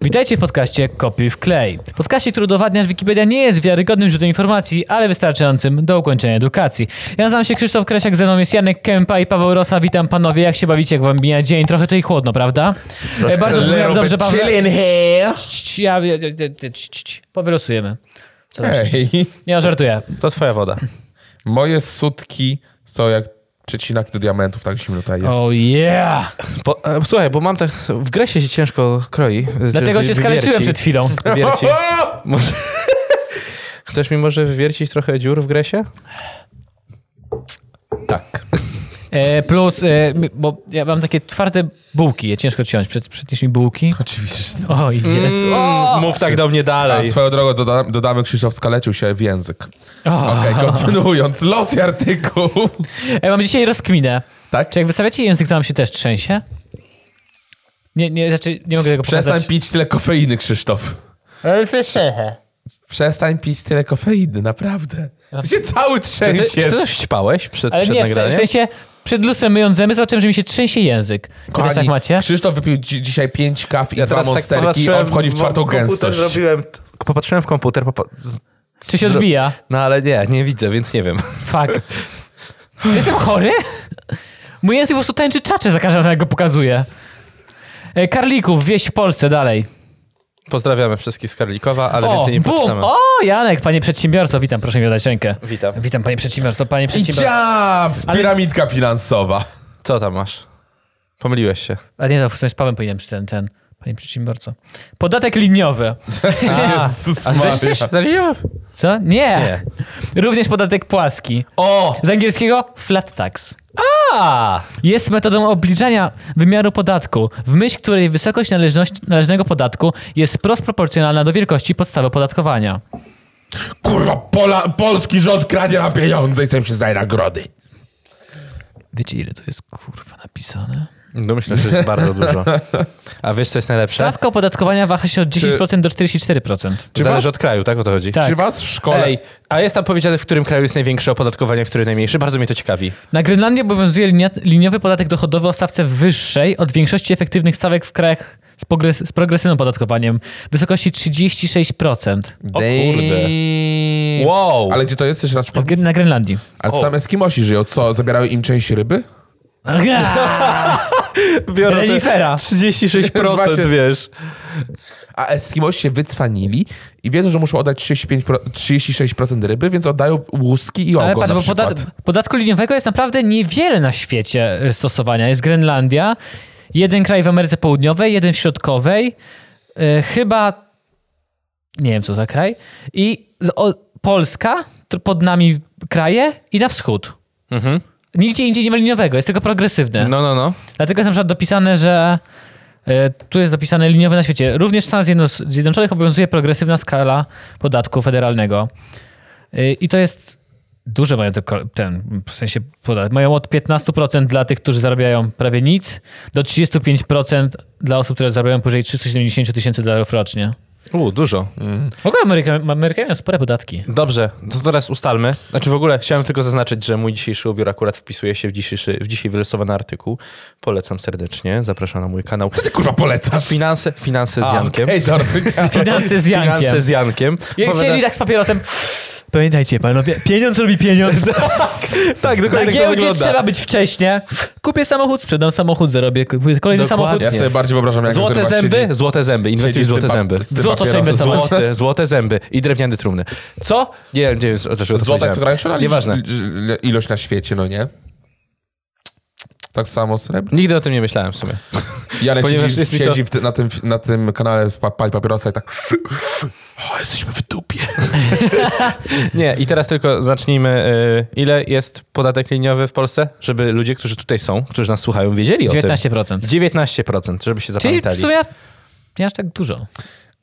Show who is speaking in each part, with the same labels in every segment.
Speaker 1: Witajcie w podcaście Kopiuj w klej. W podcaście, który udowadnia, że Wikipedia nie jest wiarygodnym źródłem informacji, ale wystarczającym do ukończenia edukacji. Ja nazywam się Krzysztof Kresiak, ze mną jest Janek Kępa i Paweł Rosa. Witam panowie, jak się bawicie, jak wam mija dzień? Trochę to i chłodno, prawda? E, bardzo
Speaker 2: Little
Speaker 1: mówiłem
Speaker 2: bit
Speaker 1: dobrze, Paweł.
Speaker 2: chilly in here.
Speaker 1: Cii, Ja, ja, ja, ja, cii, cii. Powylosujemy. Co tam się-
Speaker 2: Ej,
Speaker 1: Nie, no, żartuję.
Speaker 3: To twoja woda.
Speaker 2: moje sutki są jak przecinak do diamentów, tak zimno tutaj jest.
Speaker 1: Oh yeah!
Speaker 3: Bo, e, słuchaj, bo mam tak... W gresie się ciężko kroi. e,
Speaker 1: Dlatego
Speaker 3: wy-
Speaker 1: się
Speaker 3: wywierci.
Speaker 1: skaleczyłem przed chwilą.
Speaker 3: Wywierci.
Speaker 2: O!
Speaker 3: Może... Chcesz mi może wywiercić trochę dziur w gresie?
Speaker 2: Tak.
Speaker 1: E, plus, e, mi- bo ja mam takie twarde bułki, je ciężko ciąć. Przed, przecież mi bułki.
Speaker 2: Oczywiście. tak.
Speaker 1: O Jezu.
Speaker 3: Mm, mów tak do mnie
Speaker 2: A
Speaker 3: dalej.
Speaker 2: swoją drogą dodam, dodamy Krzysztof skaleczył się w język.
Speaker 1: O.
Speaker 2: Okej, kontynuując. Los i artykuł.
Speaker 1: E, mam dzisiaj rozkminę.
Speaker 2: Tak?
Speaker 1: Czy jak wystawiacie język, to wam się też trzęsie? Nie, nie, znaczy nie mogę tego
Speaker 2: Przestań
Speaker 1: pokazać.
Speaker 2: pić tyle kofeiny, Krzysztof.
Speaker 1: Przestań
Speaker 2: Przestań pić tyle kofeiny, naprawdę. Ty się cały
Speaker 3: Czy ty,
Speaker 2: trzęsiesz.
Speaker 3: czy ty coś ćpałeś przed,
Speaker 1: Ale
Speaker 3: przed
Speaker 1: nie, w se- w
Speaker 3: nagraniem?
Speaker 1: sensie przed lustrem myjąc zęby zobaczyłem, że mi się trzęsie język. Wy też tak
Speaker 2: Kochani,
Speaker 1: macie?
Speaker 2: Krzysztof wypił dzi dzisiaj pięć kaw i dwa
Speaker 1: tak
Speaker 2: monsterki i
Speaker 3: popatrzyłem
Speaker 2: on wchodzi w czwartą
Speaker 3: tak komputer,
Speaker 2: gęstość.
Speaker 3: Zrobiłem, popatrzyłem w komputer, popa... z-
Speaker 1: Czy się
Speaker 3: zro-
Speaker 1: odbija?
Speaker 3: No ale nie, nie widzę, więc nie wiem.
Speaker 1: Fuck. Czy jestem chory? Mój język po prostu tańczy czacze za każdym razem, jak go pokazuję. E, Karlików, wieś w Polsce, dalej.
Speaker 3: Pozdrawiamy wszystkich z Karlikowa, ale
Speaker 1: O,
Speaker 3: więcej nie
Speaker 1: bum!
Speaker 3: poczytamy.
Speaker 1: O, Janek, panie przedsiębiorco, witam, proszę mi oddać rękę.
Speaker 3: Witam.
Speaker 1: Witam, panie przedsiębiorco, panie
Speaker 2: I
Speaker 1: przedsiębiorco.
Speaker 2: dziab!
Speaker 1: Ale-
Speaker 2: Piramidka finansowa.
Speaker 3: Co tam masz? Pomyliłeś się.
Speaker 1: A nie, to w sumie z Pawem powinienem przy ten, ten, panie przedsiębiorco. Podatek liniowy.
Speaker 2: Jezus
Speaker 3: A
Speaker 2: Maria.
Speaker 3: ty jesteś? na linii?
Speaker 1: Co? Nie. Również podatek płaski.
Speaker 3: O!
Speaker 1: Z angielskiego flat tax.
Speaker 3: A!
Speaker 1: Jest metodą obliczania wymiaru podatku, w myśl której wysokość należności, należnego podatku jest wprost proporcjonalna do wielkości podstawy opodatkowania.
Speaker 2: Kurwa, pola, polski rząd kradnie nam pieniądze i sobie przyznaje nagrody.
Speaker 1: Wiecie, ile tu jest kurwa napisane?
Speaker 3: No myślę, że jest bardzo dużo. A wiesz, co jest najlepsze?
Speaker 1: Stawka opodatkowania waha się od 10% do 44%.
Speaker 2: Czy
Speaker 3: Zależy
Speaker 2: was-
Speaker 3: od kraju, tak o to chodzi?
Speaker 1: Tak.
Speaker 2: Czy was w szkole...
Speaker 3: Ej, a jest tam powiedziane, w którym kraju jest największe opodatkowanie, a który najmniejszy? Bardzo mnie to ciekawi.
Speaker 1: Na Grenlandii obowiązuje linia, liniowy podatek dochodowy o stawce wyższej od większości efektywnych stawek w krajach z, progres, z progresywnym opodatkowaniem w wysokości 36%.
Speaker 3: O kurde.
Speaker 2: Wow.
Speaker 3: Wow!
Speaker 2: Ale gdzie to jest? Jeszcze raz przypomnij.
Speaker 1: Gr- Na Grenlandii.
Speaker 2: Ale to tam Eskimosi żyją. Co, zabierały im część ryby?
Speaker 3: biorę te
Speaker 1: Renifera.
Speaker 3: 36%,
Speaker 2: Właśnie.
Speaker 3: wiesz.
Speaker 2: A Eskimosi się wycwanili i wiedzą, że muszą oddać 35 pro- 36% ryby, więc oddają łuski i ogon
Speaker 1: Ale patrz,
Speaker 2: na
Speaker 1: bo
Speaker 2: przykład.
Speaker 1: podat, podatku liniowego jest naprawdę niewiele na świecie y, stosowania. Jest Grenlandia, jeden kraj w Ameryce Południowej, jeden w Środkowej, y, chyba nie wiem co za kraj i z, o, Polska, tr- pod nami kraje i na wschód.
Speaker 3: Mhm.
Speaker 1: Nigdzie indziej nie ma liniowego, jest tylko progresywne.
Speaker 3: No, no, no.
Speaker 1: Dlatego jest na przykład dopisane, że e, tu jest dopisane liniowe na świecie. Również w Stanach Zjedno- Zjednoczonych obowiązuje progresywna skala podatku federalnego. E, I to jest duże mają te, ko- ten, w sensie podatek. Mają od 15% dla tych, którzy zarabiają prawie nic, do 35% dla osób, które zarabiają powyżej 370 000 tysięcy dolarów rocznie.
Speaker 3: U, dużo.
Speaker 1: W ogóle Ameryka- Amerykanie mają spore podatki.
Speaker 3: Dobrze, to teraz ustalmy. Znaczy w ogóle chciałem tylko zaznaczyć, że mój dzisiejszy ubiór akurat wpisuje się w, dzisiejszy, w dzisiaj wylosowany artykuł. Polecam serdecznie, zapraszam na mój kanał.
Speaker 2: Co ty kurwa polecasz?
Speaker 3: Finanse, finanse z
Speaker 2: A,
Speaker 3: Jankiem.
Speaker 2: Ej, dobra. Okej,
Speaker 1: Finanse z Jankiem.
Speaker 3: Finanse z Jankiem.
Speaker 1: Jak
Speaker 3: Opowiada-
Speaker 1: siedzi tak z papierosem. Pamiętajcie panowie, pieniądz robi pieniądz.
Speaker 3: Tak,
Speaker 1: Na
Speaker 3: dokładnie tak to
Speaker 1: giełdzie
Speaker 3: wygląda.
Speaker 1: trzeba być wcześnie. Kupię samochód, sprzedam samochód, zarobię kupię kolejny samochód.
Speaker 2: ja sobie bardziej wyobrażam, jak
Speaker 3: Złote
Speaker 2: ktoś
Speaker 3: zęby?
Speaker 2: siedzi-
Speaker 3: Złote zęby,
Speaker 2: siedzi
Speaker 3: inwestuj w
Speaker 2: z tym
Speaker 3: złote
Speaker 2: pap-
Speaker 3: zęby.
Speaker 2: z tym
Speaker 1: Złoto trzeba
Speaker 2: papierosem.
Speaker 1: inwestować.
Speaker 3: Złote, złote zęby i drewniane trumny. Co? Nie wiem, nie wiem, o- dlaczego to
Speaker 2: Złota jest
Speaker 3: powiedziałem.
Speaker 2: ograniczona
Speaker 3: Nieważne.
Speaker 2: li- li- ilość na świecie, no nie? Tak samo srebro.
Speaker 3: Nigdy o tym nie myślałem w sumie.
Speaker 2: Janek
Speaker 3: Ponieważ
Speaker 2: siedzi,
Speaker 3: jest mi
Speaker 2: siedzi w ty, na, tym, na tym kanale, z pa- pali papierosa i tak... O, jesteśmy w dupie.
Speaker 3: Nie, i teraz tylko zacznijmy, y, ile jest podatek liniowy w Polsce, żeby ludzie, którzy tutaj są, którzy nas słuchają, wiedzieli o
Speaker 1: 19%.
Speaker 3: tym. 19%, żeby się
Speaker 1: Czyli
Speaker 3: zapamiętali.
Speaker 1: w sumie nie aż tak dużo.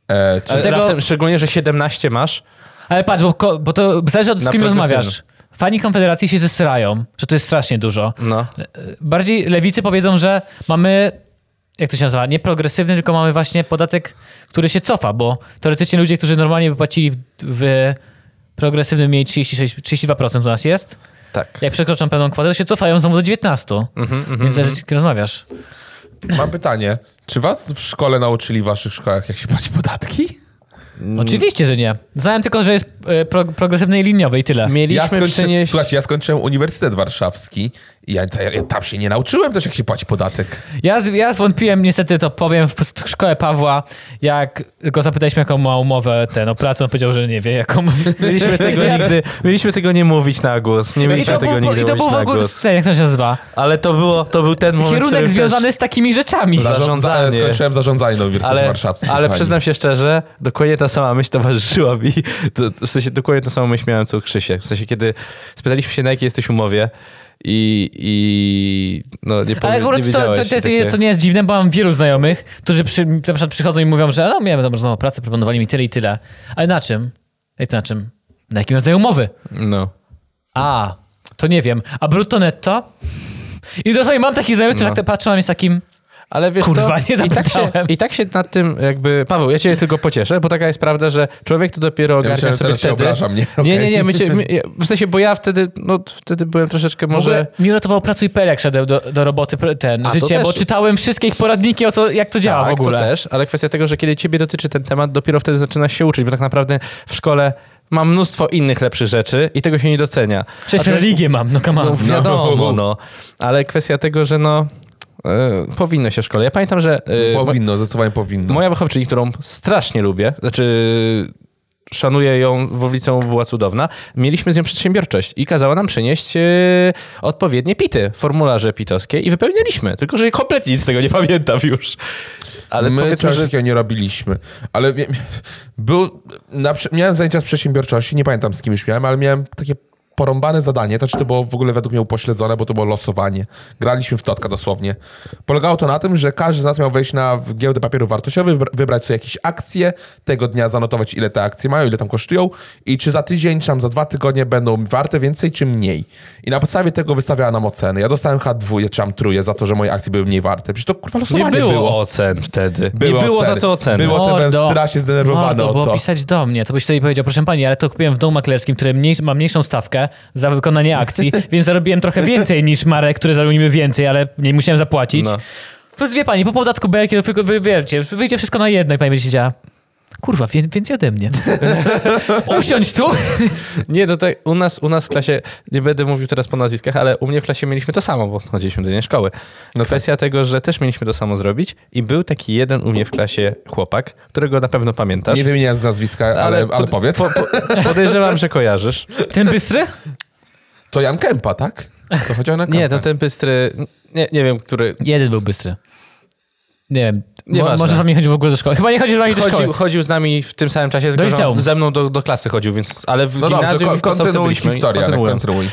Speaker 2: E, czy
Speaker 3: Ale
Speaker 1: Dlatego-
Speaker 3: raptem, szczególnie, że 17 masz.
Speaker 1: Ale patrz, bo, ko- bo to zależy od z
Speaker 3: Na
Speaker 1: kim
Speaker 3: progresywny.
Speaker 1: rozmawiasz. Fani Konfederacji się zesrają, że to jest strasznie dużo.
Speaker 3: No.
Speaker 1: Bardziej lewicy powiedzą, że mamy, jak to się nazywa, nie progresywny, tylko mamy właśnie podatek, który się cofa, bo teoretycznie ludzie, którzy normalnie by płacili w, w progresywnym mieli 36, 32% u nas jest,
Speaker 3: Tak.
Speaker 1: jak przekroczą pewną kwotę, to się cofają znowu do 19.
Speaker 3: Mhm, mhm.
Speaker 1: Więc zależy, z kim rozmawiasz.
Speaker 2: Mam pytanie. Czy was w szkole nauczyli, w waszych szkołach, jak się płaci podatki?
Speaker 3: Mm.
Speaker 1: Oczywiście, że nie. Znałem tylko, że jest e, pro, progresywny i liniowy i tyle.
Speaker 2: Ja,
Speaker 3: Mieliśmy
Speaker 2: skończy...
Speaker 3: przynieść...
Speaker 2: Słuchajcie, ja skończyłem Uniwersytet Warszawski i ja, ja, ja tam się nie nauczyłem też, jak się płaci podatek.
Speaker 1: Ja, z- ja zwątpiłem, niestety to powiem, w s- szkole Pawła, jak go zapytaliśmy, jaką ma umowę ten o pracę, on powiedział, że nie wie, jaką ma.
Speaker 3: Mieliśmy tego, nigdy, mieliśmy tego nie mówić na głos. Nie
Speaker 1: I
Speaker 3: mieliśmy
Speaker 1: to,
Speaker 3: tego
Speaker 1: był,
Speaker 3: nigdy
Speaker 1: I to był w
Speaker 3: mówić na
Speaker 1: ogóle,
Speaker 3: głos.
Speaker 1: ten, jak to się nazywa?
Speaker 3: Ale to, było, to był ten moment, w
Speaker 1: Kierunek
Speaker 3: którym
Speaker 1: związany
Speaker 3: też,
Speaker 1: z takimi rzeczami.
Speaker 3: Zarząd-
Speaker 2: Zarządza...
Speaker 3: Zarządzanie.
Speaker 2: e, Skończyłem zarządzanie na Uniwersytecie
Speaker 3: ale,
Speaker 2: Warszawskim.
Speaker 3: ale
Speaker 2: kochani.
Speaker 3: przyznam się szczerze, dokładnie ta sama myśl towarzyszyła mi. To, to w sensie, dokładnie tą samą myśl miałem co Krzysiek. W sensie, kiedy spytaliśmy się, na jakiej jesteś umowie i, i no, nie,
Speaker 1: Ale
Speaker 3: powiem, nie
Speaker 1: akurat to, to,
Speaker 3: wiedziałeś.
Speaker 1: to,
Speaker 3: i takie-
Speaker 1: to, nie jest dziwne, bo mam wielu znajomych, którzy przy, na przykład przychodzą i mówią, że no miałem dobrą znowu pracę, proponowali mi tyle i tyle. Ale na czym? Jak to na czym? Na jakim rodzaju umowy?
Speaker 3: No.
Speaker 1: A, to nie wiem. A brutto netto? I dosłownie mam takich znajomych, którzy
Speaker 3: No.
Speaker 1: tak patrzą na mnie z takim...
Speaker 3: Ale wiesz
Speaker 1: Kurwa,
Speaker 3: co,
Speaker 1: nie
Speaker 3: I, tak się,
Speaker 1: zapytałem.
Speaker 3: I tak się nad tym jakby... Paweł, ja cię tylko pocieszę, bo taka jest prawda, że człowiek to dopiero
Speaker 2: Ja
Speaker 3: ogarnia
Speaker 2: myślałem,
Speaker 3: sobie
Speaker 2: że teraz się
Speaker 3: wtedy...
Speaker 2: obraża mnie.
Speaker 3: Nie, nie,
Speaker 2: okej.
Speaker 3: nie, my cię, my, ja- w sensie, bo ja wtedy, no wtedy byłem troszeczkę
Speaker 1: Może... W ogóle
Speaker 3: może...
Speaker 1: mi uratował Pracuj.pl, jak szedłem do, do roboty pr- ten,
Speaker 3: A, to
Speaker 1: życie,
Speaker 3: też-
Speaker 1: bo czytałem wszystkie ich poradniki, o co, jak to działa
Speaker 3: tak,
Speaker 1: w ogóle.
Speaker 3: to też, ale kwestia tego, że kiedy ciebie dotyczy ten temat, dopiero wtedy zaczynasz się uczyć, bo tak naprawdę w szkole mam mnóstwo innych lepszych rzeczy i tego się nie docenia.
Speaker 1: Przecież
Speaker 3: A to-
Speaker 1: religię mam, no come on.
Speaker 3: No, wiadomo,
Speaker 2: No.
Speaker 3: no. Ale kwestia tego, że no, e, powinno się w szkole. Ja pamiętam, że e,
Speaker 2: Powinno, zdecydowanie powinno.
Speaker 3: moja wychowczyni, którą strasznie lubię, znaczy szanuję ją, bo w liceum była cudowna, mieliśmy z nią przedsiębiorczość i kazała nam przynieść e, odpowiednie pity, formularze pitowskie i wypełnialiśmy, tylko że kompletnie nic z tego nie pamiętam już. Ale
Speaker 2: My
Speaker 3: powiedzmy,
Speaker 2: czegoś
Speaker 3: że...
Speaker 2: takiego nie robiliśmy. Ale mia- był, na, przy- miałem zajęcia z przedsiębiorczości, nie pamiętam z kim już miałem, ale miałem takie porąbane zadanie, to czy to było w ogóle według mnie upośledzone, bo to było losowanie. Graliśmy w totka dosłownie. Polegało to na tym, że każdy z nas miał wejść na w- giełdę papierów wartościowych, wybra- wybrać sobie jakieś akcje, tego dnia zanotować ile te akcje mają, ile tam kosztują i czy za tydzień, czy tam za dwa tygodnie będą warte więcej, czy mniej. I na podstawie tego wystawiała nam oceny. Ja dostałem H2, czy tam truje za to, że moje akcje były mniej warte. Przecież to kurwa
Speaker 3: Nie
Speaker 2: losowanie
Speaker 3: było, ocen wtedy.
Speaker 2: Były
Speaker 3: nie było
Speaker 2: oceny.
Speaker 3: za to oceny.
Speaker 2: Było- potem byłem strasznie zdenerwowany
Speaker 1: mordo,
Speaker 2: o
Speaker 1: było
Speaker 2: to.
Speaker 1: pisać do mnie, to byś wtedy powiedział, proszę pani, ale to kupiłem w domu maklerskim, który mniej, ma mniejszą stawkę za wykonanie akcji, więc zarobiłem trochę więcej niż Marek, który zarobił niby więcej, ale nie musiałem zapłacić.
Speaker 3: No.
Speaker 1: Plus wie pani, po podatku belki, to wy, wiecie, wyjdzie wszystko na jedno i pani będzie siedziała. Kurwa, wie- więcej ode mnie. Usiądź tu!
Speaker 3: Nie, to tak, u nas, u nas w klasie, nie będę mówił teraz po nazwiskach, ale u mnie w klasie mieliśmy to samo, bo chodziliśmy do jednej szkoły.
Speaker 2: No
Speaker 3: Kwestia tego, że też mieliśmy to samo zrobić i był taki jeden u mnie w klasie chłopak, którego na pewno pamiętasz.
Speaker 2: Nie wymieniasz nazwiska, ale, ale,
Speaker 3: po-
Speaker 2: powiedz.
Speaker 3: Po, po, podejrzewam, że kojarzysz.
Speaker 1: Ten bystry?
Speaker 2: To Jan Kępa, tak? To chodziło na Kępa.
Speaker 3: Nie, to ten bystry, nie, nie wiem, który...
Speaker 1: Jeden był bystry. Nie wiem, mo-
Speaker 3: Nieważne.
Speaker 1: może z wami chodził w ogóle do szkoły. Chyba nie chodził z
Speaker 2: No
Speaker 1: wami do
Speaker 3: Chodził,
Speaker 1: szkoły.
Speaker 3: chodził z nami w tym samym czasie,
Speaker 1: Do
Speaker 3: tylko że on
Speaker 1: liceum.
Speaker 3: ze mną do, do klasy chodził, więc... Ale w
Speaker 2: No dobrze,
Speaker 3: gimnazjum
Speaker 2: ko-
Speaker 3: i w podstawce
Speaker 2: kontynuuj
Speaker 3: byliśmy i
Speaker 2: historię, Arek,
Speaker 3: kontynuuję.
Speaker 2: kontynuuj.
Speaker 3: Y,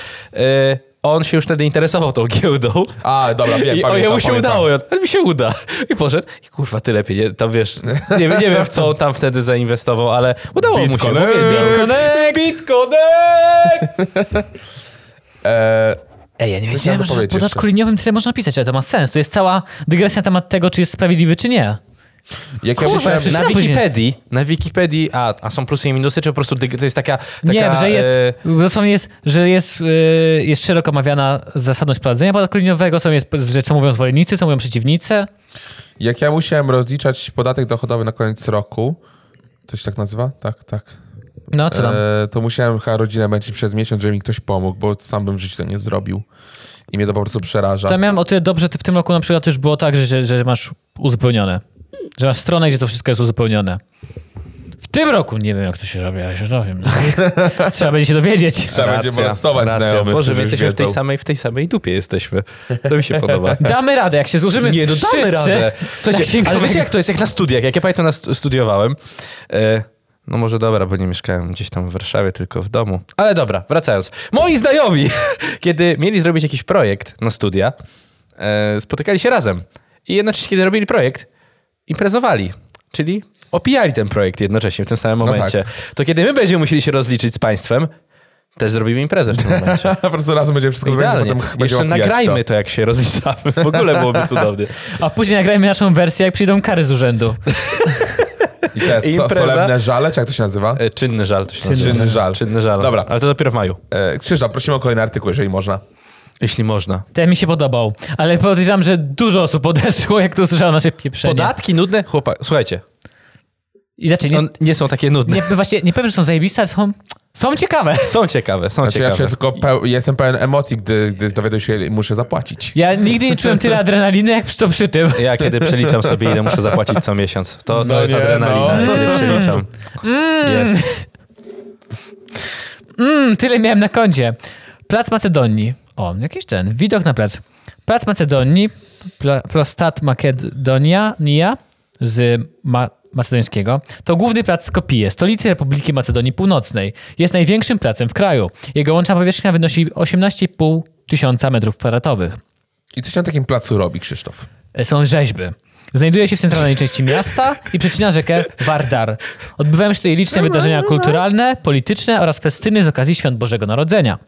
Speaker 3: on się już wtedy interesował tą giełdą.
Speaker 2: A, dobra, wiem,
Speaker 3: I o,
Speaker 2: pamiętam,
Speaker 3: jemu się
Speaker 2: pamiętam.
Speaker 3: udało, i on, ale mi się uda. I poszedł i kurwa, tyle pieniędzy, tam wiesz, nie, wiem- nie wiem w co on tam wtedy zainwestował, ale udało mu się,
Speaker 2: Bitcoin.
Speaker 3: powiedział.
Speaker 1: Bitconnect!
Speaker 3: Bitconek!
Speaker 2: E,
Speaker 1: Ej, ja nie
Speaker 2: chciałem
Speaker 1: wiedziałem, że w
Speaker 2: dopowiedzieć
Speaker 1: podatku
Speaker 2: jeszcze.
Speaker 1: liniowym tyle można pisać, ale to ma sens. To jest cała dygresja na temat tego, czy jest sprawiedliwy, czy nie.
Speaker 2: jak ja
Speaker 1: Kurwa,
Speaker 2: myślałem,
Speaker 1: przecież-
Speaker 3: Na
Speaker 1: Co później?
Speaker 3: Wikipedii, na Wikipedii, a, a są plusy i minusy, czy po prostu dyg- to jest taka, taka
Speaker 1: nie, że jest,
Speaker 3: e,
Speaker 1: dosłownie jest, że jest, yy, jest szeroko omawiana zasadność prowadzenia podatku liniowego, co, jest, że co mówią zwolennicy, co mówią przeciwnicy.
Speaker 2: jak ja musiałem rozliczać podatek dochodowy na koniec roku, to się tak nazywa? Tak, tak.
Speaker 1: No, co tam?
Speaker 2: E, to musiałem chyba rodzinę męczyć przez miesiąc, żeby mi ktoś pomógł, bo sam bym w życiu to nie zrobił. I mnie to po prostu przeraża.
Speaker 1: To ja miałem o tyle dobrze, ty w tym roku na przykład już było tak, że, że, że masz uzupełnione. Że masz stronę, gdzie to wszystko jest uzupełnione. W tym roku nie wiem, jak to się robi, ale się dowiem. Trzeba będzie się dowiedzieć.
Speaker 2: Trzeba będzie molestować znajomych,
Speaker 3: Boże, my
Speaker 2: którzy
Speaker 3: jesteśmy
Speaker 2: już
Speaker 3: w tej,
Speaker 2: wiedzą.
Speaker 3: samej, w tej samej dupie jesteśmy. To mi się podoba.
Speaker 1: Damy radę, jak się złożymy
Speaker 3: Nie, no damy
Speaker 1: wszyscy
Speaker 3: radę.
Speaker 1: na
Speaker 3: Słuchajcie, ale
Speaker 1: księgowego.
Speaker 3: wiecie jak to jest, jak na studiach, jak ja pamiętam, na stu- studiowałem, e, no może dobra, bo nie mieszkałem gdzieś tam w Warszawie, tylko w domu, ale dobra, wracając. Moi znajomi, kiedy mieli zrobić jakiś projekt na studia, e, spotykali się razem i jednocześnie, kiedy robili projekt, imprezowali, czyli opijali ten projekt jednocześnie w tym samym
Speaker 2: tak.
Speaker 3: momencie. To kiedy my będziemy musieli się rozliczyć z państwem, też zrobimy imprezę w tym momencie.
Speaker 2: po prostu razem będzie wszystko wymienić,
Speaker 3: Idealnie.
Speaker 2: potem ch- będzie
Speaker 3: Jeszcze
Speaker 2: opijać
Speaker 3: nagrajmy to. jak się rozliczamy. W ogóle byłoby cudownie.
Speaker 1: A później nagrajmy naszą wersję, jak przyjdą kary z urzędu.
Speaker 2: I te so,
Speaker 3: Impreza.
Speaker 2: solemne żale, czy jak to się nazywa?
Speaker 3: E, Czynny żal to się
Speaker 1: Czynny
Speaker 3: nazywa.
Speaker 2: żal.
Speaker 3: Czynny żal.
Speaker 2: Dobra.
Speaker 3: Ale to dopiero w maju.
Speaker 2: E, Krzysztof, prosimy o kolejny artykuł, jeżeli można.
Speaker 3: jeśli można.
Speaker 1: Ten mi się podobał, ale podejrzewam, że dużo osób odeszło, jak to usłyszało nasze pieprzenie.
Speaker 3: Podatki nudne? Chłopak, słuchajcie,
Speaker 1: I znaczy, nie,
Speaker 3: on, nie są takie nudne.
Speaker 1: nie, no właśnie, nie powiem, że są zajebiste, ale są, są ciekawe.
Speaker 3: Są ciekawe, są
Speaker 2: Znaczy, ja
Speaker 3: ciekawe.
Speaker 2: czuję tylko peł, ja jestem pełen emocji, gdy, gdy dowiaduję się, ile muszę zapłacić.
Speaker 1: Ja nigdy nie czułem tyle adrenaliny, jak przy- to przy tym.
Speaker 3: Ja kiedy przeliczam sobie, ile muszę zapłacić co miesiąc. To, to
Speaker 2: No
Speaker 3: jest
Speaker 2: nie,
Speaker 3: adrenalina,
Speaker 2: no.
Speaker 3: kiedy przeliczam. Jest.
Speaker 1: Mm, tyle miałem na koncie. Plac Macedonii. O, jakiś ten, widok na plac. Plac Macedonii, pla, Prostat Makedonia, Nia z ma, macedońskiego, to główny plac Skopije, stolicy Republiki Macedonii Północnej. Jest największym placem w kraju. Jego łączna powierzchnia wynosi 18,5 tysiąca metrów kwadratowych.
Speaker 2: I co się na takim placu robi, Krzysztof?
Speaker 1: E, Są rzeźby. Znajduje się w centralnej części miasta i przecina rzekę Vardar. Odbywają się tutaj liczne wydarzenia kulturalne, polityczne oraz festyny z okazji Świąt Bożego Narodzenia.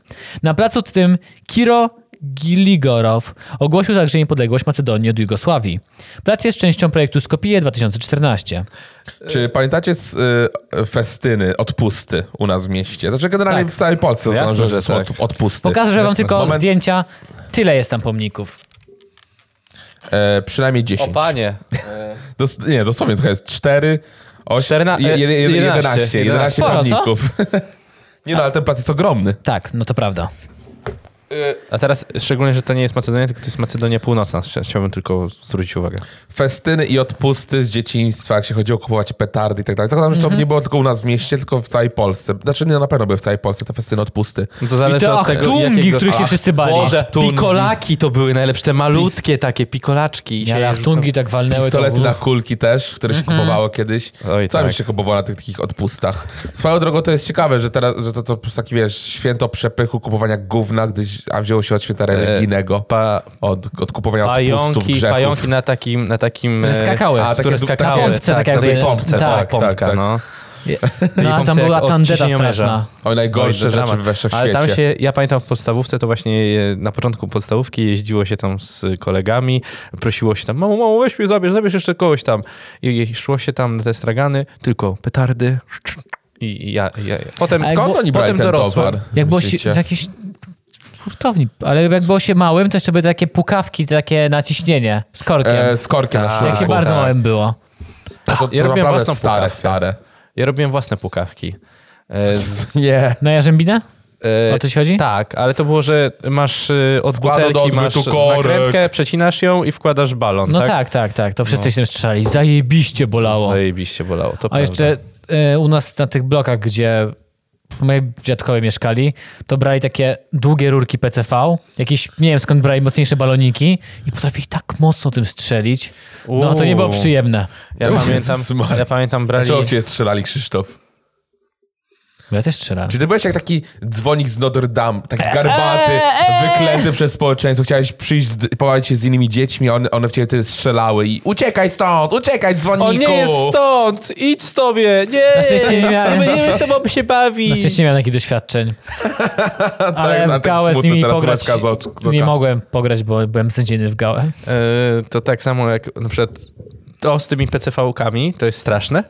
Speaker 1: Na placu tym Kiro Giligorow ogłosił także niepodległość Macedonii od Jugosławii. Plac jest częścią projektu Skopije 2014.
Speaker 2: Czy pamiętacie z, y, festyny, odpusty u nas w mieście? Znaczy generalnie
Speaker 1: Tak.
Speaker 2: w całej Polsce
Speaker 3: Jasne,
Speaker 2: zdarza,
Speaker 3: że
Speaker 2: że są
Speaker 3: tak.
Speaker 2: od, odpusty.
Speaker 1: Pokażę wam
Speaker 2: Jasne.
Speaker 1: tylko
Speaker 2: Moment,
Speaker 1: zdjęcia. Tyle jest tam pomników.
Speaker 2: e, przynajmniej
Speaker 3: O
Speaker 2: 10.
Speaker 3: panie.
Speaker 2: Dos, nie, dosłownie to jest 4, 8,
Speaker 3: Czterna-
Speaker 2: 11,
Speaker 3: e,
Speaker 2: 11,
Speaker 3: 11,
Speaker 2: 11, 11
Speaker 1: Sporo, co?
Speaker 2: pomników. nie no, ale ten plac jest ogromny.
Speaker 1: Tak, no to prawda.
Speaker 3: A teraz szczególnie, że to nie jest Macedonia, tylko to jest Macedonia Północna. Chcia- Chciałbym tylko zwrócić uwagę.
Speaker 2: Festyny i odpusty z dzieciństwa, jak się chodziło kupować petardy i tak dalej. Zakładam, że
Speaker 3: Mhm.
Speaker 2: to nie było tylko u nas w mieście, tylko w całej Polsce. Znaczy nie, na pewno były w całej Polsce te festyny, odpusty.
Speaker 3: No to zależy
Speaker 1: I te
Speaker 3: od tego,
Speaker 1: achtungi,
Speaker 3: jakiego...
Speaker 1: których się
Speaker 3: Ach,
Speaker 1: wszyscy bali.
Speaker 3: Boże,
Speaker 2: Achtungi.
Speaker 3: pikolaki to były najlepsze, malutkie takie pikolaczki. I się
Speaker 1: Ja
Speaker 3: je
Speaker 1: tungi tak walnęły. to
Speaker 2: Pistolety
Speaker 1: było-
Speaker 2: na kulki też, które się kupowało kiedyś.
Speaker 3: Mhm. Oj,
Speaker 2: Cały
Speaker 3: tak.
Speaker 2: się kupowało na tych takich odpustach. Swoją drogą to jest ciekawe, że teraz, że to, to po prostu taki, wiesz, święto przepychu kupowania gówna, gdyś, a wzięło się od święta religijnego.
Speaker 3: E, Pa,
Speaker 2: od, od kupowania odpustów,
Speaker 3: pająki,
Speaker 2: grzechów.
Speaker 3: pająki na takim... Na takim
Speaker 1: Że skakały.
Speaker 3: A,
Speaker 2: A,
Speaker 3: które
Speaker 2: takie-
Speaker 3: skakały.
Speaker 1: na pompce, tak
Speaker 3: na
Speaker 1: jakby-
Speaker 3: tej pompce,
Speaker 1: tak,
Speaker 3: tak, pompka,
Speaker 2: tak, tak.
Speaker 3: no.
Speaker 1: No, a tam
Speaker 3: pomce jak
Speaker 1: była
Speaker 3: od
Speaker 1: tandeta
Speaker 3: ciśnienia męża.
Speaker 1: straszna.
Speaker 2: Oj, najgorsze
Speaker 3: Oj, to
Speaker 2: rzeczy
Speaker 3: dramat.
Speaker 2: we wszechświecie.
Speaker 3: Ale tam się, ja pamiętam w podstawówce, to właśnie e, na początku podstawówki jeździło się tam z kolegami, prosiło się tam, mamo, mamo, weź mnie zabierz, zabierz jeszcze kogoś tam. I i szło się tam na te stragany, tylko petardy i i ja, ja, ja. Potem
Speaker 1: A jak
Speaker 2: Skąd
Speaker 1: było-
Speaker 2: oni brali
Speaker 3: potem
Speaker 2: ten
Speaker 3: dorosłem.
Speaker 2: towar?
Speaker 1: Jak było się,
Speaker 2: myślicie?
Speaker 1: z jakiejś hurtowni, ale jak było się małym, to jeszcze były takie pukawki, takie naciśnienie z korkiem.
Speaker 2: E, z korkiem na
Speaker 3: Tak.
Speaker 2: szlaku.
Speaker 1: jak się
Speaker 3: tak.
Speaker 1: bardzo małym było.
Speaker 2: To, to,
Speaker 3: Ja robiłem
Speaker 2: naprawdę
Speaker 3: własną
Speaker 2: stare,
Speaker 3: pukawkę.
Speaker 2: stare.
Speaker 3: Ja robiłem własne pukawki. E, z-
Speaker 2: Nie.
Speaker 1: Na Jarzębinę?
Speaker 3: e,
Speaker 1: O to ci chodzi?
Speaker 3: Tak, ale to było, że masz e, od
Speaker 2: Wkładam do
Speaker 3: butelki, masz
Speaker 2: odbytu korek.
Speaker 3: nakrętkę, przecinasz ją i wkładasz balon,
Speaker 1: No tak,
Speaker 3: tak?
Speaker 1: tak, tak. To wszyscy się tym strzelali. Zajebiście bolało.
Speaker 3: Zajebiście bolało, to
Speaker 1: A
Speaker 3: prawda.
Speaker 1: jeszcze e, u nas na tych blokach, gdzie moi dziadkowie mieszkali, to brali takie długie rurki PCV, jakieś, nie wiem skąd brali mocniejsze baloniki i potrafili tak mocno tym strzelić. No to nie było
Speaker 3: Uuu.
Speaker 1: przyjemne.
Speaker 3: Ja
Speaker 2: Jezus
Speaker 3: pamiętam,
Speaker 2: Maria.
Speaker 3: ja pamiętam brali...
Speaker 2: Dlaczego cię strzelali, Krzysztof?
Speaker 1: Ja też strzelałem.
Speaker 2: Czy ty byłeś jak taki dzwonik z Notre Dame, taki
Speaker 1: E,
Speaker 2: garbaty, wyklęty przez społeczeństwo, chciałeś przyjść, d- pobawić się z innymi dziećmi, a one, one w ciebie wtedy strzelały i uciekaj stąd, uciekaj dzwoniku!
Speaker 3: On nie jest stąd! Idź z tobie! Nie!
Speaker 1: Na szczęście nie miałem.
Speaker 3: My nie z tobą się bawić!
Speaker 1: Na szczęście Znaczy, nie miałem takich doświadczeń. Ale
Speaker 2: na
Speaker 1: w
Speaker 2: tak
Speaker 1: gałę z
Speaker 2: smutno
Speaker 1: nimi
Speaker 2: teraz
Speaker 1: pograć
Speaker 2: łezka z oc- z
Speaker 1: nie
Speaker 2: oka.
Speaker 1: mogłem pograć, bo byłem sędziony w gałę.
Speaker 3: E, to tak samo jak na przykład to z tymi PCV-kami, to jest straszne,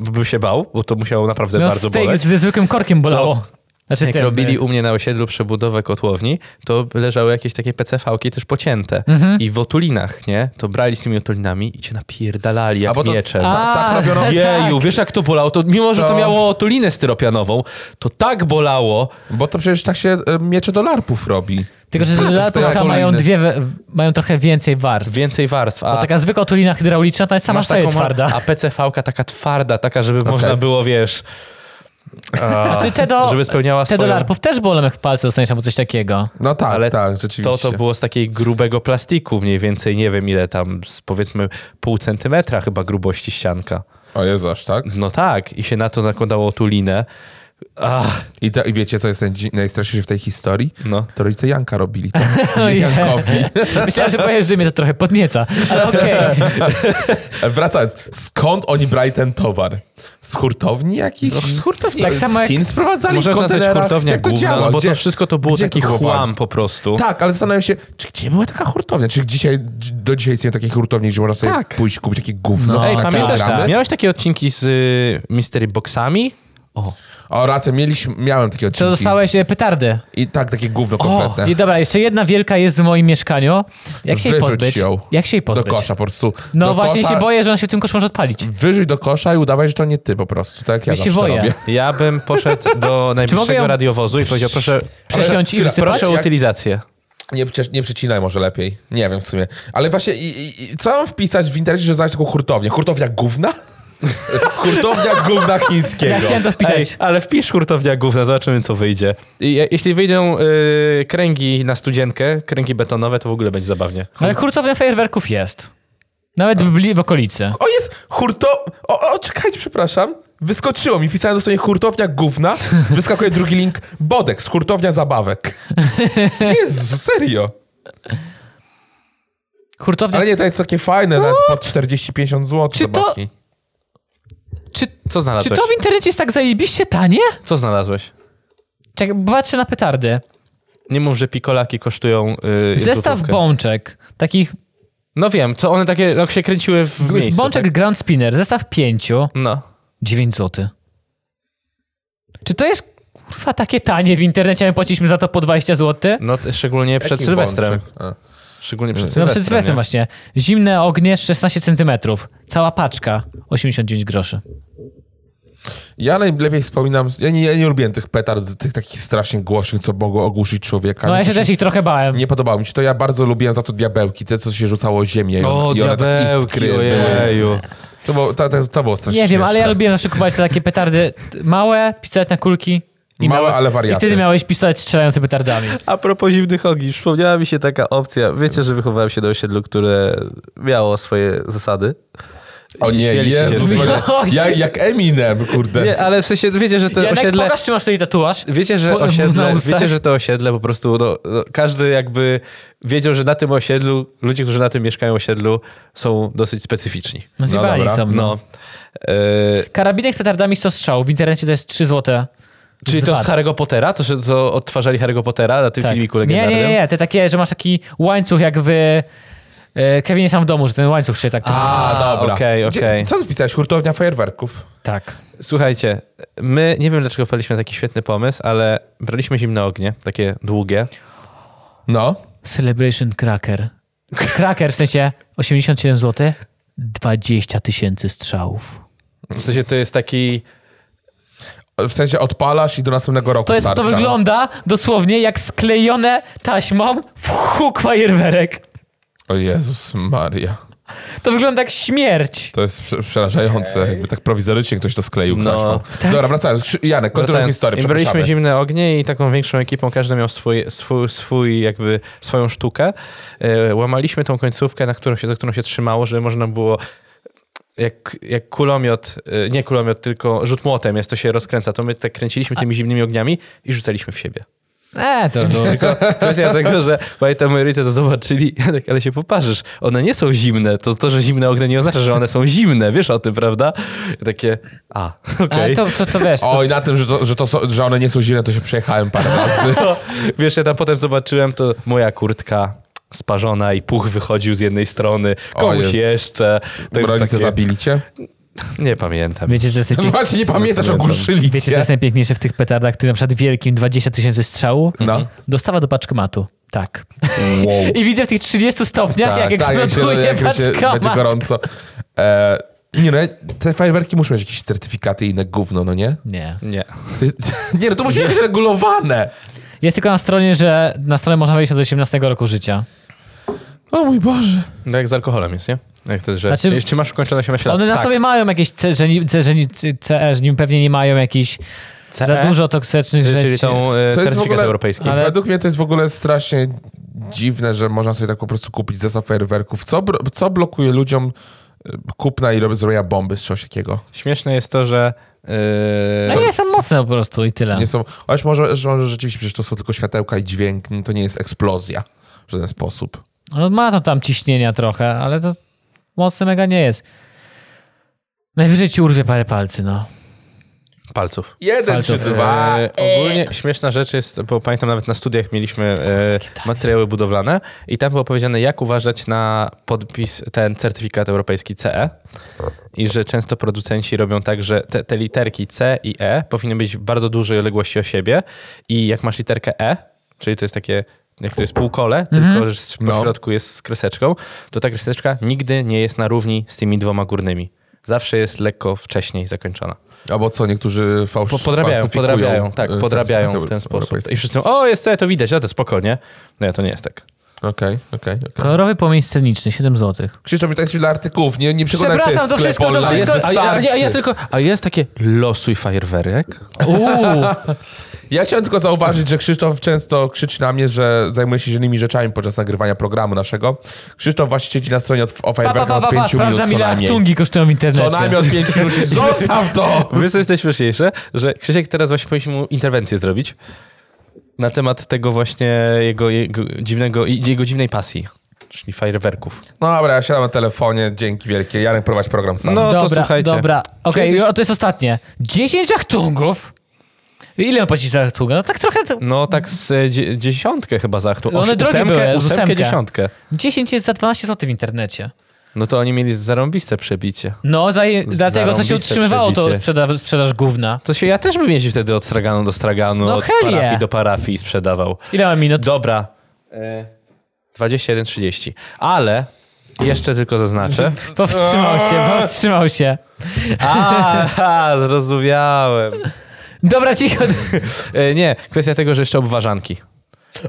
Speaker 3: bo bym się bał, bo to musiało naprawdę
Speaker 1: No
Speaker 3: bardzo
Speaker 1: z tej,
Speaker 3: boleć.
Speaker 1: ze zwykłym korkiem bolało. Znaczy
Speaker 3: Jak
Speaker 1: tym,
Speaker 3: robili
Speaker 1: y,
Speaker 3: u mnie na osiedlu przebudowę kotłowni, to leżały jakieś takie PCV-ki też pocięte.
Speaker 1: Mhm.
Speaker 3: I w otulinach, nie? To brali z tymi otulinami i cię napierdalali
Speaker 2: A
Speaker 3: jak
Speaker 2: bo to,
Speaker 3: mieczem.
Speaker 2: ta, tak
Speaker 1: A.
Speaker 2: robiono
Speaker 3: Jeju, wiesz jak to bolało? To, mimo, że to
Speaker 2: To-
Speaker 3: miało otulinę styropianową, to tak bolało,
Speaker 2: Bo to przecież tak się e, miecze do larpów robi. Tak,
Speaker 1: Tylko,
Speaker 3: Tak,
Speaker 1: że latka
Speaker 2: to ja
Speaker 1: mają
Speaker 2: kolejny.
Speaker 1: dwie, we- mają trochę więcej warstw.
Speaker 3: więcej warstw. A
Speaker 1: Bo taka zwykła otulina hydrauliczna to jest sama w sobie
Speaker 3: ma-
Speaker 1: twarda.
Speaker 3: A PCV-ka taka twarda, taka, żeby można było, wiesz,
Speaker 1: A, czy te do,
Speaker 3: żeby spełniała
Speaker 1: te do
Speaker 3: swoją...
Speaker 1: larpów też bolą jak w palce dostaniesz albo coś takiego.
Speaker 2: No tak,
Speaker 3: Ale
Speaker 2: tak, rzeczywiście.
Speaker 3: To to było z takiej grubego plastiku, mniej więcej, nie wiem ile tam, z powiedzmy pół centymetra chyba grubości ścianka.
Speaker 2: O Jezu, aż tak?
Speaker 3: No tak, i się na to nakładało tulinę. Ach,
Speaker 2: I, te, I wiecie, co jest najdzi- najstraszniejsze w tej historii?
Speaker 3: no.
Speaker 2: To rodzice Janka robili to.
Speaker 1: Ojej.
Speaker 2: Jankowi.
Speaker 1: Myślałem, że powiesz, że mnie to trochę podnieca, ale okej.
Speaker 2: Wracając, skąd oni brali ten towar? Z hurtowni jakichś?
Speaker 3: z hurtowni.
Speaker 1: Tak
Speaker 2: Z
Speaker 1: samo jak-
Speaker 2: Chin sprowadzali
Speaker 3: Może
Speaker 2: w
Speaker 3: nazwać
Speaker 2: kontenerach?
Speaker 3: hurtownia
Speaker 2: Jak to
Speaker 3: główna,
Speaker 2: działa?
Speaker 3: bo
Speaker 2: Gdzie-
Speaker 3: to wszystko to było
Speaker 2: gdzie
Speaker 3: taki
Speaker 2: kupowali?
Speaker 3: chłam po prostu.
Speaker 2: Tak, ale zastanawiam się, czy gdzie była taka hurtownia? Czy dzisiaj, do dzisiaj istnieją takie hurtownie, gdzie można sobie
Speaker 3: Tak.
Speaker 2: pójść kupić takie gówno?
Speaker 1: No,
Speaker 2: na
Speaker 3: Ej,
Speaker 1: tak,
Speaker 3: pamiętasz,
Speaker 2: kilogramy?
Speaker 1: tak.
Speaker 3: miałeś takie odcinki z y, Mystery Boxami? O.
Speaker 2: O, rację, mieliśmy, miałem takie
Speaker 1: To
Speaker 2: odcinki.
Speaker 1: dostałeś e, petardy.
Speaker 2: I tak, takie gówno kompletne.
Speaker 1: I dobra, jeszcze jedna wielka jest w moim mieszkaniu. Jak się jej
Speaker 2: Wyrzuć
Speaker 1: pozbyć?
Speaker 2: ją
Speaker 1: Jak się jej
Speaker 2: do
Speaker 1: pozbyć?
Speaker 2: kosza po prostu.
Speaker 1: No
Speaker 2: do
Speaker 1: właśnie
Speaker 2: kosza,
Speaker 1: się boję, że on się tym kosz może odpalić.
Speaker 2: Wyrzuć do kosza i udawaj, że to nie ty po prostu, tak jak ja
Speaker 1: Ja się
Speaker 2: zawsze
Speaker 1: boję.
Speaker 2: robię.
Speaker 3: Ja bym poszedł do
Speaker 1: mogę
Speaker 3: najbliższego
Speaker 1: ją-
Speaker 3: radiowozu i powiedział, proszę,
Speaker 1: Przesiąść i
Speaker 2: chwila,
Speaker 1: wysypać?
Speaker 3: proszę o
Speaker 2: jak-
Speaker 3: utylizację.
Speaker 2: Nie, przecież- nie przecinaj może lepiej. Nie wiem w sumie. Ale właśnie, i, i, i co mam wpisać w internecie, że znaleźć taką hurtownię? Hurtownia gówna? hurtownia gówna chińskiego.
Speaker 1: Ja chciałem to wpisać.
Speaker 3: Ej, ale wpisz hurtownia gówna, zobaczymy co wyjdzie. I, je- jeśli wyjdą y, kręgi na studzienkę, kręgi betonowe, to w ogóle będzie zabawnie.
Speaker 1: Ale hurtownia fajerwerków jest. Nawet w, bli- w okolicy.
Speaker 2: O, jest hurto... O, o, czekajcie, przepraszam. Wyskoczyło mi, wpisałem do sobie hurtownia gówna, wyskakuje drugi link, bodek z hurtownia zabawek. Jezu, serio.
Speaker 1: Hurtownia...
Speaker 2: Ale nie, to jest takie fajne, nawet po 40-50 zł
Speaker 1: No. Czy to-
Speaker 2: zabawki.
Speaker 1: Czy,
Speaker 3: Co
Speaker 1: czy
Speaker 3: znalazłeś?
Speaker 1: to w internecie jest tak zajebiście tanie?
Speaker 3: Co znalazłeś?
Speaker 1: Czekaj, bo patrzę na petardy.
Speaker 3: Nie mów, że pikolaki kosztują y,
Speaker 1: Zestaw
Speaker 3: złotówkę.
Speaker 1: bączek. Takich...
Speaker 3: No wiem, co one takie, jak się kręciły w miejscu.
Speaker 1: bączek
Speaker 3: Tak?
Speaker 1: Grand Spinner. Zestaw pięciu.
Speaker 3: No.
Speaker 1: 9 zł. Czy to jest kurwa takie tanie w internecie? My płaciliśmy za to po 20 zł?
Speaker 3: No t- szczególnie przed
Speaker 2: Jaki
Speaker 3: Sylwestrem.
Speaker 2: bączek? A.
Speaker 3: Szczególnie przed
Speaker 1: No
Speaker 3: Sylwestrem.
Speaker 1: przed Sylwestrem
Speaker 3: nie?
Speaker 1: właśnie. Zimne ognie 16 cm. Cała paczka 89 groszy.
Speaker 2: Ja najlepiej wspominam, ja nie, ja nie lubiłem tych petard, z tych takich strasznie głośnych, co mogło ogłuszyć człowieka.
Speaker 1: No ja
Speaker 2: Mi
Speaker 1: się
Speaker 2: to
Speaker 1: też ich trochę bałem.
Speaker 2: Nie podobało mi się to, ja bardzo lubiłem za to diabełki, te co się rzucało o ziemię i
Speaker 3: O,
Speaker 2: one, i one tak
Speaker 3: diabełki,
Speaker 2: iskry były.
Speaker 3: ojeju.
Speaker 2: To było, to, to, to było strasznie
Speaker 1: Nie wiem, ale ja
Speaker 2: śmieszne.
Speaker 1: lubiłem zawsze kupować te takie petardy małe, pistolet na kulki.
Speaker 2: Małe, ale wariaty.
Speaker 1: I wtedy miałeś pistolet strzelający petardami.
Speaker 3: A propos zimnych ogniw, przypomniała mi się taka opcja. Wiecie, że wychowałem się na osiedlu, które miało swoje zasady?
Speaker 2: O nie,
Speaker 3: Śmieliście się
Speaker 2: Jezus,
Speaker 3: z nich.
Speaker 2: Maria,
Speaker 1: No,
Speaker 2: ja, jak Eminem, kurde.
Speaker 3: Nie, ale w sensie, wiecie, że to
Speaker 1: Janek,
Speaker 3: osiedle...
Speaker 1: pokaż, czy masz tutaj tatuaż.
Speaker 3: Wiecie, że
Speaker 1: Po- na
Speaker 3: osiedle,
Speaker 1: ustach.
Speaker 3: wiecie, że to osiedle po prostu, no, no, każdy jakby wiedział, że na tym osiedlu, ludzie, którzy na tym mieszkają osiedlu są dosyć specyficzni.
Speaker 1: No zjebali
Speaker 2: dobra,
Speaker 1: są.
Speaker 3: No. E,
Speaker 1: Karabinek z petardami 100 strzał. W internecie to jest 3 złote.
Speaker 3: czyli to
Speaker 1: Zwad.
Speaker 3: z Harry'ego Pottera? To, że co odtwarzali Harry'ego Pottera na tym filmiku
Speaker 1: Tak. nie,
Speaker 3: legendarnym?
Speaker 1: nie, nie, te takie, że masz taki łańcuch jak w e, Kevinie sam w domu, że ten łańcuch się tak...
Speaker 2: A, dobra.
Speaker 3: okej,
Speaker 2: Gdzie-
Speaker 3: okej.
Speaker 2: Co ty wpisałeś? Hurtownia fajerwerków.
Speaker 1: Tak.
Speaker 3: Słuchajcie, my, nie wiem dlaczego wpadliśmy na taki świetny pomysł, ale braliśmy zimne ognie, takie długie.
Speaker 2: No.
Speaker 1: Celebration Cracker. Cracker w sensie 87 zł, 20 tysięcy strzałów.
Speaker 3: W sensie to jest taki...
Speaker 2: W sensie odpalasz i do następnego roku
Speaker 1: To, jest, to
Speaker 2: starcza.
Speaker 1: wygląda dosłownie jak sklejone taśmą w huk fajerwerek.
Speaker 2: O Jezus Maria.
Speaker 1: To wygląda jak śmierć.
Speaker 2: To jest prze- przerażające. Jakby tak prowizorycznie ktoś to skleił
Speaker 3: No.
Speaker 2: no. Dobra, wracając. Szy- Janek, kontynuuj
Speaker 3: Wracając,
Speaker 2: historię,
Speaker 3: im braliśmy
Speaker 2: przepraszamy.
Speaker 3: zimne ognie i taką większą ekipą, każdy miał swój, swój, swój jakby swoją sztukę. E, łamaliśmy tą końcówkę, na którą się, za którą się trzymało, żeby można było jak, jak kulomiot, e, nie kulomiot, tylko rzut młotem jest, to się rozkręca, to my tak kręciliśmy tymi zimnymi ogniami i rzucaliśmy w siebie.
Speaker 1: E, to no.
Speaker 3: Tylko kwestia tego, że pamiętam, moi rodzice to zobaczyli, Janek, ale się poparzysz, one nie są zimne, to to, że zimne ognie nie oznacza, że one są zimne, wiesz o tym, prawda? I takie, a, okej.
Speaker 1: Ale to, to, to wiesz, to,
Speaker 2: Oj, na tym, że, to, że, to, są- że one nie są zimne, to się przejechałem parę razy.
Speaker 3: To, wiesz, ja tam potem zobaczyłem, to moja kurtka sparzona i puch wychodził z jednej strony,
Speaker 2: O,
Speaker 3: komuś
Speaker 2: jest.
Speaker 3: jeszcze. To już
Speaker 2: Rodzice zabili cię?
Speaker 3: Nie pamiętam.
Speaker 1: wiecie, co jest
Speaker 2: No
Speaker 1: najpięk...
Speaker 2: właśnie, nie pamiętasz, ogłuszyli
Speaker 1: wiecie, co
Speaker 2: cię.
Speaker 1: jest najpiękniejsze w tych petardach, ty na przykład wielkim 20 tysięcy strzału? Mhm.
Speaker 2: No.
Speaker 1: Dostawa do paczkomatu. Tak.
Speaker 2: Wow. Tak,
Speaker 1: I widzę w tych 30 stopniach, jak eksploduje
Speaker 2: jak
Speaker 1: tak,
Speaker 2: się będzie
Speaker 1: paczkomat.
Speaker 2: gorąco. E, nie, no, te fajerwerki muszą mieć jakieś certyfikaty i inne gówno, no nie?
Speaker 1: Nie.
Speaker 3: Nie.
Speaker 2: To jest, nie, no to musi być regulowane.
Speaker 1: Jest tylko na stronie, że na stronę można wejść od 18 roku życia.
Speaker 2: O mój Boże.
Speaker 3: No jak z alkoholem jest, nie? Jak to, że
Speaker 1: Znaczy-
Speaker 3: czy masz ukończone 18 lat?
Speaker 1: One na
Speaker 3: Tak.
Speaker 1: sobie mają jakieś C, że, ni- C, że, ni- C- CE, że nim pewnie nie mają jakichś
Speaker 3: CE?
Speaker 1: za dużo toksycznych
Speaker 3: Czyli,
Speaker 1: rzeczy.
Speaker 3: czyli są e,
Speaker 2: To jest w
Speaker 3: certyfikat
Speaker 2: ogóle,
Speaker 3: europejski.
Speaker 1: Ale-
Speaker 2: Według mnie to jest w ogóle strasznie dziwne, że można sobie tak po prostu kupić zestaw fajerwerków. Co, bro- co blokuje ludziom y, kupna i rob- zrobienia bomby z czegoś takiego?
Speaker 3: Tak. Śmieszne jest to, że... e,
Speaker 1: No nie, są mocne po prostu i tyle.
Speaker 2: Nie są, chociaż może, że może rzeczywiście, przecież to są tylko światełka i dźwięk, no to nie jest eksplozja w żaden sposób.
Speaker 1: No, ma to tam ciśnienia trochę, ale to mocne mega nie jest. Najwyżej ci urwie parę palcy, no.
Speaker 3: Palców.
Speaker 2: Jeden czy
Speaker 1: Palców,
Speaker 2: dwa.
Speaker 3: E, ogólnie śmieszna rzecz jest, bo pamiętam nawet na studiach mieliśmy e, materiały budowlane i tam było powiedziane, jak uważać na podpis, ten certyfikat europejski CE i że często producenci robią tak, że te, te literki C i E powinny być w bardzo dużej odległości o siebie i jak masz literkę E, czyli to jest takie jak to jest półkole, tylko że z- po
Speaker 2: No.
Speaker 3: środku jest z kreseczką, to ta kreseczka nigdy nie jest na równi z tymi dwoma górnymi. Zawsze jest lekko wcześniej zakończona.
Speaker 2: Albo co, niektórzy fałsz,
Speaker 3: Po, podrabiają,
Speaker 2: falsyfikują,
Speaker 3: podrabiają, tak,
Speaker 2: e, certyfikaty
Speaker 3: podrabiają w ten
Speaker 2: europejskie.
Speaker 3: sposób. I wszyscy, o, jest to, to widać, a to spokojnie. No, to nie jest tak.
Speaker 2: Okej, okej, okej.
Speaker 1: Kolorowy płomień sceniczny, 7 zł.
Speaker 2: Krzysztof, mi tak jest wiele artykułów, nie, nie przekonałem
Speaker 1: Przepraszam,
Speaker 2: się
Speaker 1: to wszystko, to
Speaker 2: sklepu, online,
Speaker 1: wszystko-
Speaker 3: a, ja, a, ja, a ja
Speaker 2: wystarczy.
Speaker 3: tylko, a jest takie losuj fajerwerek.
Speaker 1: Uuu,
Speaker 2: Ja chciałem tylko zauważyć, że Krzysztof często krzyczy na mnie, że zajmuje się innymi rzeczami podczas nagrywania programu naszego. Krzysztof właśnie siedzi na stronie od- o
Speaker 1: pa, pa,
Speaker 2: fajerwerkach
Speaker 1: pa,
Speaker 2: od
Speaker 1: pa, pa,
Speaker 2: 5 minut
Speaker 1: sprawdzam
Speaker 2: co
Speaker 1: ile
Speaker 2: najmniej.
Speaker 1: aktungi kosztują w
Speaker 2: Co
Speaker 1: internecie.
Speaker 2: najmniej od 5 minut. Zostaw to!
Speaker 3: Wiesz, co jest najśmieszniejsze? Że Krzysiek teraz właśnie powinniśmy mu interwencję zrobić na temat tego właśnie jego, jego, dziwnego, jego dziwnej pasji, czyli fajerwerków.
Speaker 2: No dobra, ja siadam na telefonie, dzięki wielkie. Jarek, prowadź program sam.
Speaker 3: No.
Speaker 2: No.
Speaker 3: to
Speaker 1: dobra,
Speaker 3: słuchajcie.
Speaker 1: Dobra, okej,
Speaker 3: Kiedyś-
Speaker 1: o, to jest ostatnie. 10 aktungów. Ile on płaci za aktungę? No tak trochę...
Speaker 2: Mm.
Speaker 1: To...
Speaker 3: No tak z e, dzie- dziesiątkę chyba za aktu.
Speaker 1: One
Speaker 3: Osi-
Speaker 1: drogie
Speaker 3: ósemkę,
Speaker 1: były, z
Speaker 3: ósemkę,
Speaker 1: ósemkę.
Speaker 3: dziesiątkę.
Speaker 1: 10 jest za 12 zł w internecie.
Speaker 3: No to oni mieli zarąbiste przebicie.
Speaker 1: No, za, dlatego to się
Speaker 3: Zarąbiste
Speaker 1: utrzymywało to
Speaker 3: przebicie.
Speaker 1: sprzedaż, sprzedaż gówna.
Speaker 3: To się ja też bym jeździł wtedy od straganu do straganu,
Speaker 1: No
Speaker 3: od
Speaker 1: hell
Speaker 3: parafii
Speaker 1: yeah.
Speaker 3: do parafii i sprzedawał.
Speaker 1: Ile mam minut?
Speaker 3: Dobra. E, 21.30. Ale jeszcze tylko zaznaczę.
Speaker 1: Powstrzymał się, powstrzymał się.
Speaker 3: A, zrozumiałem.
Speaker 1: Dobra, cicho.
Speaker 3: E, nie, kwestia tego, że jeszcze obważanki.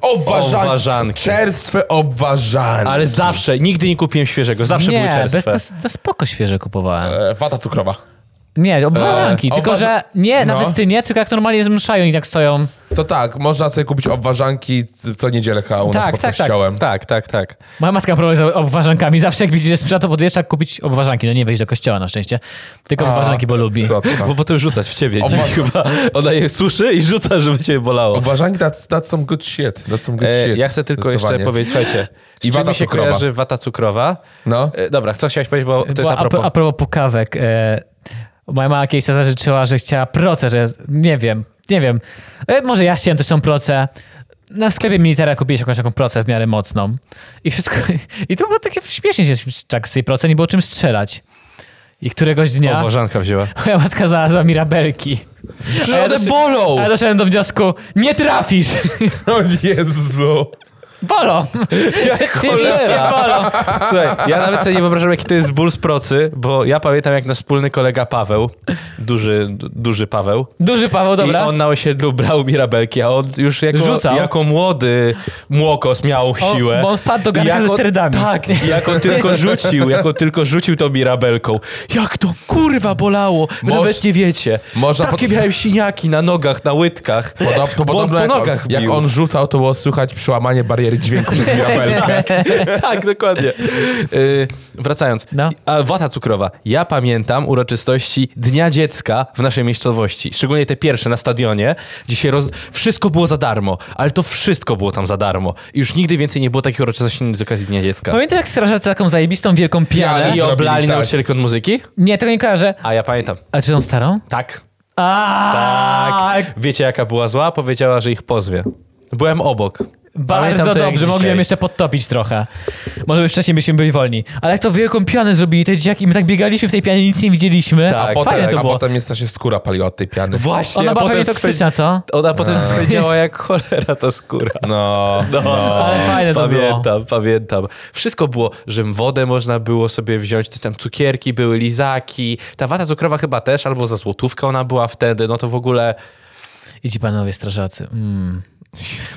Speaker 2: Obważanki.
Speaker 3: Obważanki.
Speaker 2: Czerstwe obważanki.
Speaker 3: Ale zawsze, nigdy nie kupiłem świeżego, zawsze były
Speaker 1: Nie, bez,
Speaker 3: czerstwe.
Speaker 1: to, to spoko świeże kupowałem.
Speaker 2: E, wata cukrowa.
Speaker 1: Nie, obważanki,
Speaker 2: E,
Speaker 1: tylko
Speaker 2: obważ-
Speaker 1: że nie, na
Speaker 2: no.
Speaker 1: Westynie, tylko jak normalnie zmszają i jak stoją.
Speaker 2: To tak, można sobie kupić obważanki c- co niedzielę chyba u nas
Speaker 1: Tak,
Speaker 2: pod
Speaker 1: tak, tak.
Speaker 2: kościołem.
Speaker 3: Tak, tak, tak.
Speaker 1: Moja matka ma problem z obważankami. Zawsze jak widzi, że sprzedaż, to podjeżdża kupić obważanki. No nie wejść do kościoła na szczęście, tylko obważanki, bo lubi.
Speaker 2: Słodka.
Speaker 3: Bo potem rzucać w ciebie.
Speaker 2: Obwa-
Speaker 3: Dziwi chyba ona je suszy i rzuca, żeby cię bolało.
Speaker 2: Obważanki, that's, that's some good shit. That's some good
Speaker 3: E,
Speaker 2: shit.
Speaker 3: ja chcę tylko jeszcze
Speaker 2: Zdecydowanie.
Speaker 3: powiedzieć, słuchajcie, z czym
Speaker 2: I wata
Speaker 3: mi się
Speaker 2: cukrowa.
Speaker 3: kojarzy wata cukrowa.
Speaker 2: No.
Speaker 3: E, dobra, co chciałeś powiedzieć, bo to jest
Speaker 1: Bo
Speaker 3: a propos.
Speaker 1: A, propos pukawek. E, moja mama kiedyś sobie zażyczyła, że chciała proce, że nie wiem, nie wiem. E, może ja chciałem też tą procę. Na sklepie militera kupiłeś jakąś taką procę w miarę mocną. I wszystko. I to było takie śmiesznie się tak z tej procy, nie było czym strzelać. I któregoś dnia
Speaker 3: Obważanka wzięła.
Speaker 1: moja matka znalazła mirabelki. A
Speaker 3: Że one
Speaker 1: dosz-
Speaker 3: bolą!
Speaker 1: A ja doszedłem do wniosku, nie trafisz!
Speaker 2: O Jezu.
Speaker 1: Bolą! Rzeczywiście
Speaker 3: cholera.
Speaker 1: bolą!
Speaker 3: Słuchaj, ja nawet sobie nie wyobrażam, jaki to jest ból z procy, bo ja pamiętam, jak nasz wspólny kolega Paweł, duży, du- duży Paweł,
Speaker 1: Duży Paweł, dobra.
Speaker 3: I on na osiedlu brał mirabelki, a on już jako,
Speaker 1: Rzucał.
Speaker 3: jako młody młokos miał siłę.
Speaker 1: bo on wpadł do garnka
Speaker 3: Jak
Speaker 1: ze
Speaker 3: on-
Speaker 1: sterydami.
Speaker 3: Tak, i jak on tylko rzucił, jak on tylko rzucił tą mirabelką. Jak to kurwa bolało, Wy
Speaker 2: Moż-
Speaker 3: nawet nie wiecie.
Speaker 2: Można
Speaker 3: Takie
Speaker 2: pod-
Speaker 3: miałem siniaki na nogach, na łydkach.
Speaker 2: Podob, to
Speaker 3: Bo on
Speaker 2: podobno
Speaker 3: po
Speaker 2: jak, on,
Speaker 3: nogach
Speaker 2: jak
Speaker 3: bił.
Speaker 2: on rzucał, to było słychać przełamanie bariery dźwięku przez mirabelkę.
Speaker 3: tak, dokładnie. Yy, wracając.
Speaker 1: No.
Speaker 3: A, wata cukrowa. Ja pamiętam uroczystości Dnia Dziecka w naszej miejscowości. Szczególnie te pierwsze na stadionie, gdzie się roz... wszystko było za darmo, ale to wszystko było tam za darmo. I już nigdy więcej nie było takich uroczystości z okazji Dnia Dziecka.
Speaker 1: Pamiętasz, jak strażacy taką zajebistą wielką pianę?
Speaker 2: Pianę.
Speaker 3: I oblali
Speaker 2: Zrobili tak.
Speaker 3: nauczycielkę od muzyki?
Speaker 1: Nie, tego nie kojarzę.
Speaker 3: A ja pamiętam.
Speaker 1: A czy tą starą?
Speaker 3: Tak.
Speaker 1: A,
Speaker 3: Tak. Wiecie, jaka była zła? Powiedziała, że ich pozwie. Byłem obok. Pamiętam
Speaker 1: Bardzo
Speaker 3: to jak
Speaker 1: dobrze,
Speaker 3: dzisiaj.
Speaker 1: mogłem jeszcze podtopić trochę. Może by wcześniej byśmy byli wolni. Ale jak to wielką pianę zrobili, te dzieciaki, my tak biegaliśmy w tej pianie, nic nie widzieliśmy.
Speaker 3: Tak,
Speaker 2: A,
Speaker 1: A
Speaker 2: potem,
Speaker 1: Fajnie to
Speaker 2: a
Speaker 1: było.
Speaker 2: potem jest też skóra paliła od tej piany.
Speaker 3: Właśnie.
Speaker 1: Ona
Speaker 3: a
Speaker 1: była
Speaker 3: potem
Speaker 1: pewnie toksyczna, co?
Speaker 3: swedzi- Ona potem swędziała jak cholera ta skóra.
Speaker 2: No,
Speaker 1: Ale fajne to
Speaker 3: pamiętam,
Speaker 1: było.
Speaker 3: pamiętam. Wszystko było, że wodę można było sobie wziąć, to tam cukierki były, lizaki, ta wata cukrowa chyba też, albo za złotówkę ona była wtedy, no to w ogóle...
Speaker 1: I ci panowie strażacy. Mm.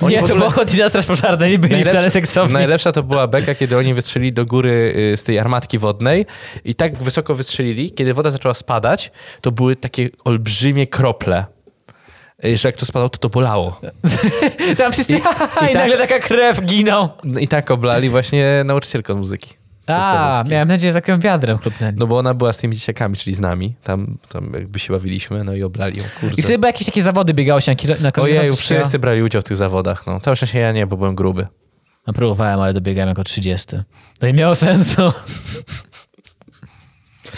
Speaker 3: Oni
Speaker 1: Nie,
Speaker 3: w
Speaker 1: to
Speaker 3: ogóle-
Speaker 1: było chodzi na straż pożarna, nie byli wcale seksowni.
Speaker 3: najlepsza to była beka, kiedy oni wystrzelili do góry y, z tej armatki wodnej i tak wysoko wystrzelili, kiedy woda zaczęła spadać, to były takie olbrzymie krople. Y, Że jak to spadało, to to bolało.
Speaker 1: Tam wszyscy,
Speaker 3: I-
Speaker 1: i, i,
Speaker 3: i tak-
Speaker 1: nagle taka krew giną.
Speaker 3: No I tak oblali właśnie nauczycielkę od muzyki.
Speaker 1: A,
Speaker 3: Podstawówki.
Speaker 1: miałem nadzieję, że takim wiadrem chlupnęli.
Speaker 3: No bo ona była z tymi dzieciakami, czyli z nami. Tam, tam jakby się bawiliśmy, no i oblali ją,
Speaker 1: I
Speaker 3: kurde.
Speaker 1: wtedy były jakieś takie zawody, biegało się na kilo- na koniec.
Speaker 3: Ojeju, wszyscy brali udział w tych zawodach, no. Całe szczęście ja nie, bo byłem gruby.
Speaker 1: No, próbowałem, ale dobiegałem jako 30. To nie miało sensu.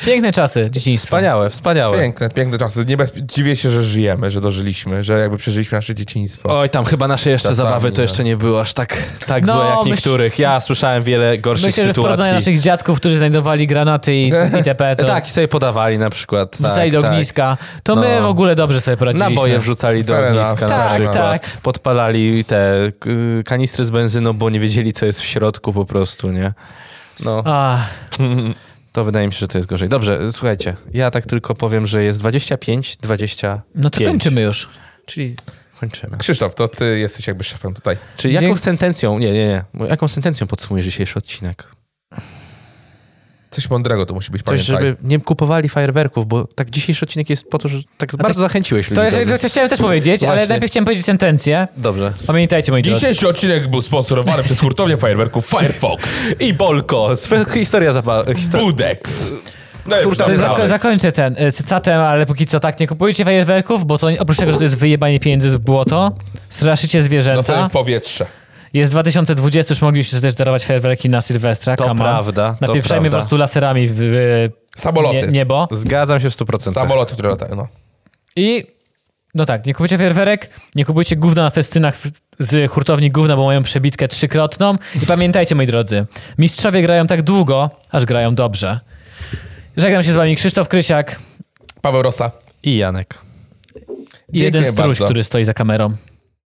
Speaker 1: Piękne czasy dzieciństwa.
Speaker 3: Wspaniałe, wspaniałe.
Speaker 2: Piękne, piękne czasy. Nie bez... Dziwię się, że żyjemy, że dożyliśmy, że jakby przeżyliśmy nasze dzieciństwo.
Speaker 3: Oj, tam chyba nasze jeszcze
Speaker 2: Czasami,
Speaker 3: zabawy to
Speaker 2: tak.
Speaker 3: jeszcze nie było aż tak, tak
Speaker 1: No,
Speaker 3: złe jak
Speaker 1: myśl-
Speaker 3: niektórych. Ja słyszałem wiele gorszych
Speaker 1: Myślę, że w porównaniu
Speaker 3: sytuacji.
Speaker 1: naszych dziadków, którzy znajdowali granaty i itp. To
Speaker 3: Tak, i sobie podawali na przykład.
Speaker 1: wrzucali
Speaker 3: Tak,
Speaker 1: do
Speaker 3: tak.
Speaker 1: ogniska. To my
Speaker 3: No.
Speaker 1: w ogóle dobrze sobie poradziliśmy.
Speaker 3: Naboje wrzucali do
Speaker 2: Fair
Speaker 3: ogniska
Speaker 2: enough.
Speaker 3: na
Speaker 1: Tak,
Speaker 3: przykład.
Speaker 1: tak.
Speaker 3: Podpalali te y, kanistry z benzyną, bo nie wiedzieli, co jest w środku po prostu, nie? No,
Speaker 1: Ach,
Speaker 3: to wydaje mi się, że to jest gorzej. Dobrze, słuchajcie, ja tak tylko powiem, że jest 25, 20.
Speaker 1: no to
Speaker 3: Pięć.
Speaker 1: kończymy już.
Speaker 3: Czyli kończymy.
Speaker 2: Krzysztof, to ty jesteś jakby szefem tutaj.
Speaker 3: Czy jaką
Speaker 1: Dzięk-
Speaker 3: sentencją, nie, nie, nie, jaką sentencją podsumujesz dzisiejszy odcinek?
Speaker 2: Coś mądrego to musi być,
Speaker 3: Coś,
Speaker 2: pamiętaj.
Speaker 3: żeby nie kupowali fajerwerków, bo tak dzisiejszy odcinek jest po to, że tak bardzo zachęciłeś
Speaker 1: To,
Speaker 3: ludzi.
Speaker 1: jeszcze,
Speaker 3: do-
Speaker 1: to, chciałem też powiedzieć, ale
Speaker 3: Właśnie.
Speaker 1: najpierw chciałem powiedzieć sentencję.
Speaker 3: Dobrze.
Speaker 1: Pamiętajcie, moi drodzy.
Speaker 2: Dzisiejszy odcinek był sponsorowany przez hurtownię fajerwerków Firefox,
Speaker 3: I Bolko, swe- historia zapa- historia.
Speaker 2: Budex. No i
Speaker 1: Kurde, zako-
Speaker 2: przynajmniej
Speaker 1: zakończę ten e, cytatem, ale póki co tak, nie kupujcie fajerwerków, bo to oprócz tego, że to jest wyjebanie pieniędzy w błoto, straszycie
Speaker 2: No sobie
Speaker 1: zwierzęta.
Speaker 2: w powietrze.
Speaker 1: Jest 2020, już mogliście sobie też darować fajerwerki na Sylwestra.
Speaker 3: To
Speaker 1: come on.
Speaker 3: prawda, to
Speaker 1: Napieprzajmy
Speaker 3: prawda.
Speaker 1: po prostu laserami w, w
Speaker 2: Samoloty.
Speaker 1: nie, niebo.
Speaker 3: Zgadzam się w 100%.
Speaker 2: Samoloty, które latają, no.
Speaker 1: I no tak, nie kupujcie fajerwerek, nie kupujcie gówna na festynach w- z hurtowni gówna, bo mają przebitkę trzykrotną. I pamiętajcie, moi drodzy, mistrzowie grają tak długo, aż grają dobrze. Żegnam się z wami Krzysztof Krysiak
Speaker 2: Paweł Rosa.
Speaker 3: I Janek.
Speaker 1: i jeden
Speaker 2: Dziękuję
Speaker 1: struś,
Speaker 2: bardzo.
Speaker 1: który stoi za kamerą.